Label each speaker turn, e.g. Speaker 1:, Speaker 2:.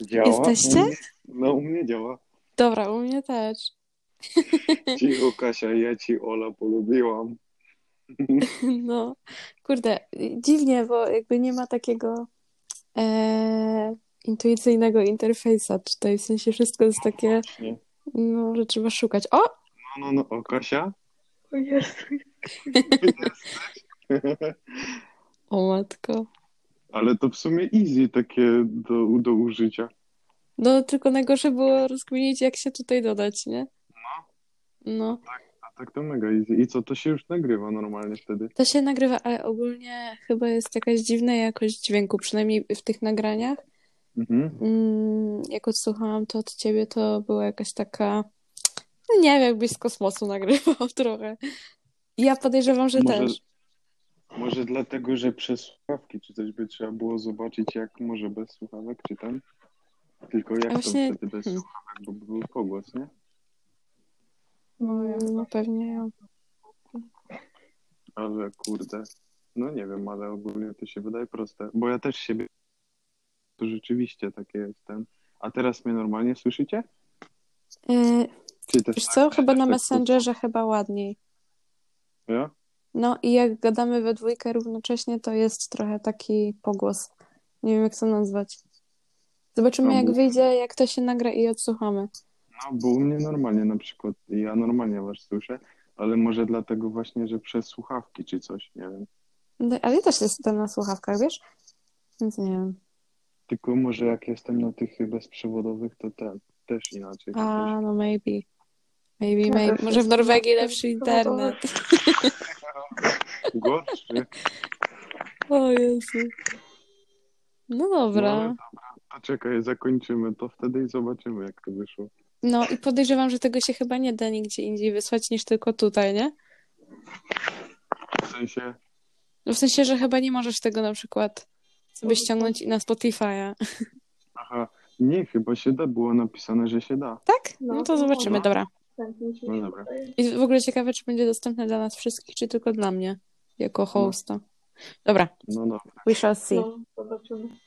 Speaker 1: Działa?
Speaker 2: Jesteście?
Speaker 1: U mnie- No, u mnie działa.
Speaker 2: Dobra, u mnie też.
Speaker 1: Cicho, Kasia, ja ci Ola polubiłam.
Speaker 2: No, kurde, dziwnie, bo jakby nie ma takiego e, intuicyjnego interfejsa tutaj, w sensie wszystko jest takie,
Speaker 1: Nie.
Speaker 2: no, że trzeba szukać. O!
Speaker 1: No, no, no, o, Kasia?
Speaker 3: O Jezu.
Speaker 2: O matko.
Speaker 1: Ale to w sumie easy takie do, do użycia.
Speaker 2: No, tylko najgorsze było rozkminić, jak się tutaj dodać, nie? No,
Speaker 1: A tak to mega easy. I co, to się już nagrywa normalnie wtedy?
Speaker 2: to się nagrywa, ale ogólnie chyba jest jakaś dziwna jakość dźwięku, przynajmniej w tych nagraniach.
Speaker 1: Mhm.
Speaker 2: Mm, jak odsłuchałam to od ciebie, to była jakaś taka. no Nie wiem, jakbyś z kosmosu nagrywał trochę. Ja podejrzewam, że
Speaker 1: Może-
Speaker 2: też.
Speaker 1: Może dlatego, że przez słuchawki czy coś by trzeba było zobaczyć, jak może bez słuchawek, czy tam? Tylko jak
Speaker 2: A właśnie-
Speaker 1: to wtedy bez
Speaker 2: mhm.
Speaker 1: słuchawek, bo by był pogłos, nie?
Speaker 2: No pewnie ja.
Speaker 1: Ale kurde, no nie wiem, ale ogólnie to się wydaje proste, bo ja też siebie to rzeczywiście takie jestem. A teraz mnie normalnie słyszycie?
Speaker 2: Yy,
Speaker 1: Czy też
Speaker 2: wiesz co, chyba na
Speaker 1: tak,
Speaker 2: Messengerze chyba ładniej.
Speaker 1: ja?
Speaker 2: No i jak gadamy we dwójkę równocześnie, to jest trochę taki pogłos. Nie wiem, jak to nazwać. Zobaczymy,
Speaker 1: No,
Speaker 2: jak
Speaker 1: bo-
Speaker 2: wyjdzie, jak to się nagra i odsłuchamy.
Speaker 1: No, bo u mnie normalnie na przykład, ja normalnie was słyszę, ale może dlatego właśnie, że przez słuchawki czy coś, nie wiem.
Speaker 2: No, Ale ja też jestem na słuchawkach, wiesz? Więc nie wiem.
Speaker 1: Tylko może jak jestem na tych bezprzewodowych, to ten, też inaczej.
Speaker 2: A, no maybe. Maybe,
Speaker 3: Ja
Speaker 2: maybe.
Speaker 3: też
Speaker 2: Może w
Speaker 3: jestem
Speaker 2: Norwegii
Speaker 3: na
Speaker 2: lepszy
Speaker 3: bezprzewodowych.
Speaker 2: internet.
Speaker 1: Gorszy.
Speaker 2: O Jezu. No
Speaker 1: No, ale
Speaker 2: dobra.
Speaker 1: dobra, to czekaj, zakończymy to wtedy i zobaczymy, jak to wyszło.
Speaker 2: No i podejrzewam, że tego się chyba nie da nigdzie indziej wysłać niż tylko tutaj, nie?
Speaker 1: W sensie,
Speaker 2: No w sensie, że chyba nie możesz tego na przykład sobie ściągnąć i na Spotify'a.
Speaker 1: aha, nie, chyba się da, było napisane, że się da.
Speaker 2: Tak?
Speaker 3: No,
Speaker 2: No to zobaczymy,
Speaker 1: no.
Speaker 2: dobra.
Speaker 1: No dobra.
Speaker 2: I w ogóle ciekawe, czy będzie dostępne dla nas wszystkich, czy tylko dla mnie, jako hosta. Dobra,
Speaker 1: No dobra.
Speaker 2: we shall see.
Speaker 3: No, zobaczymy.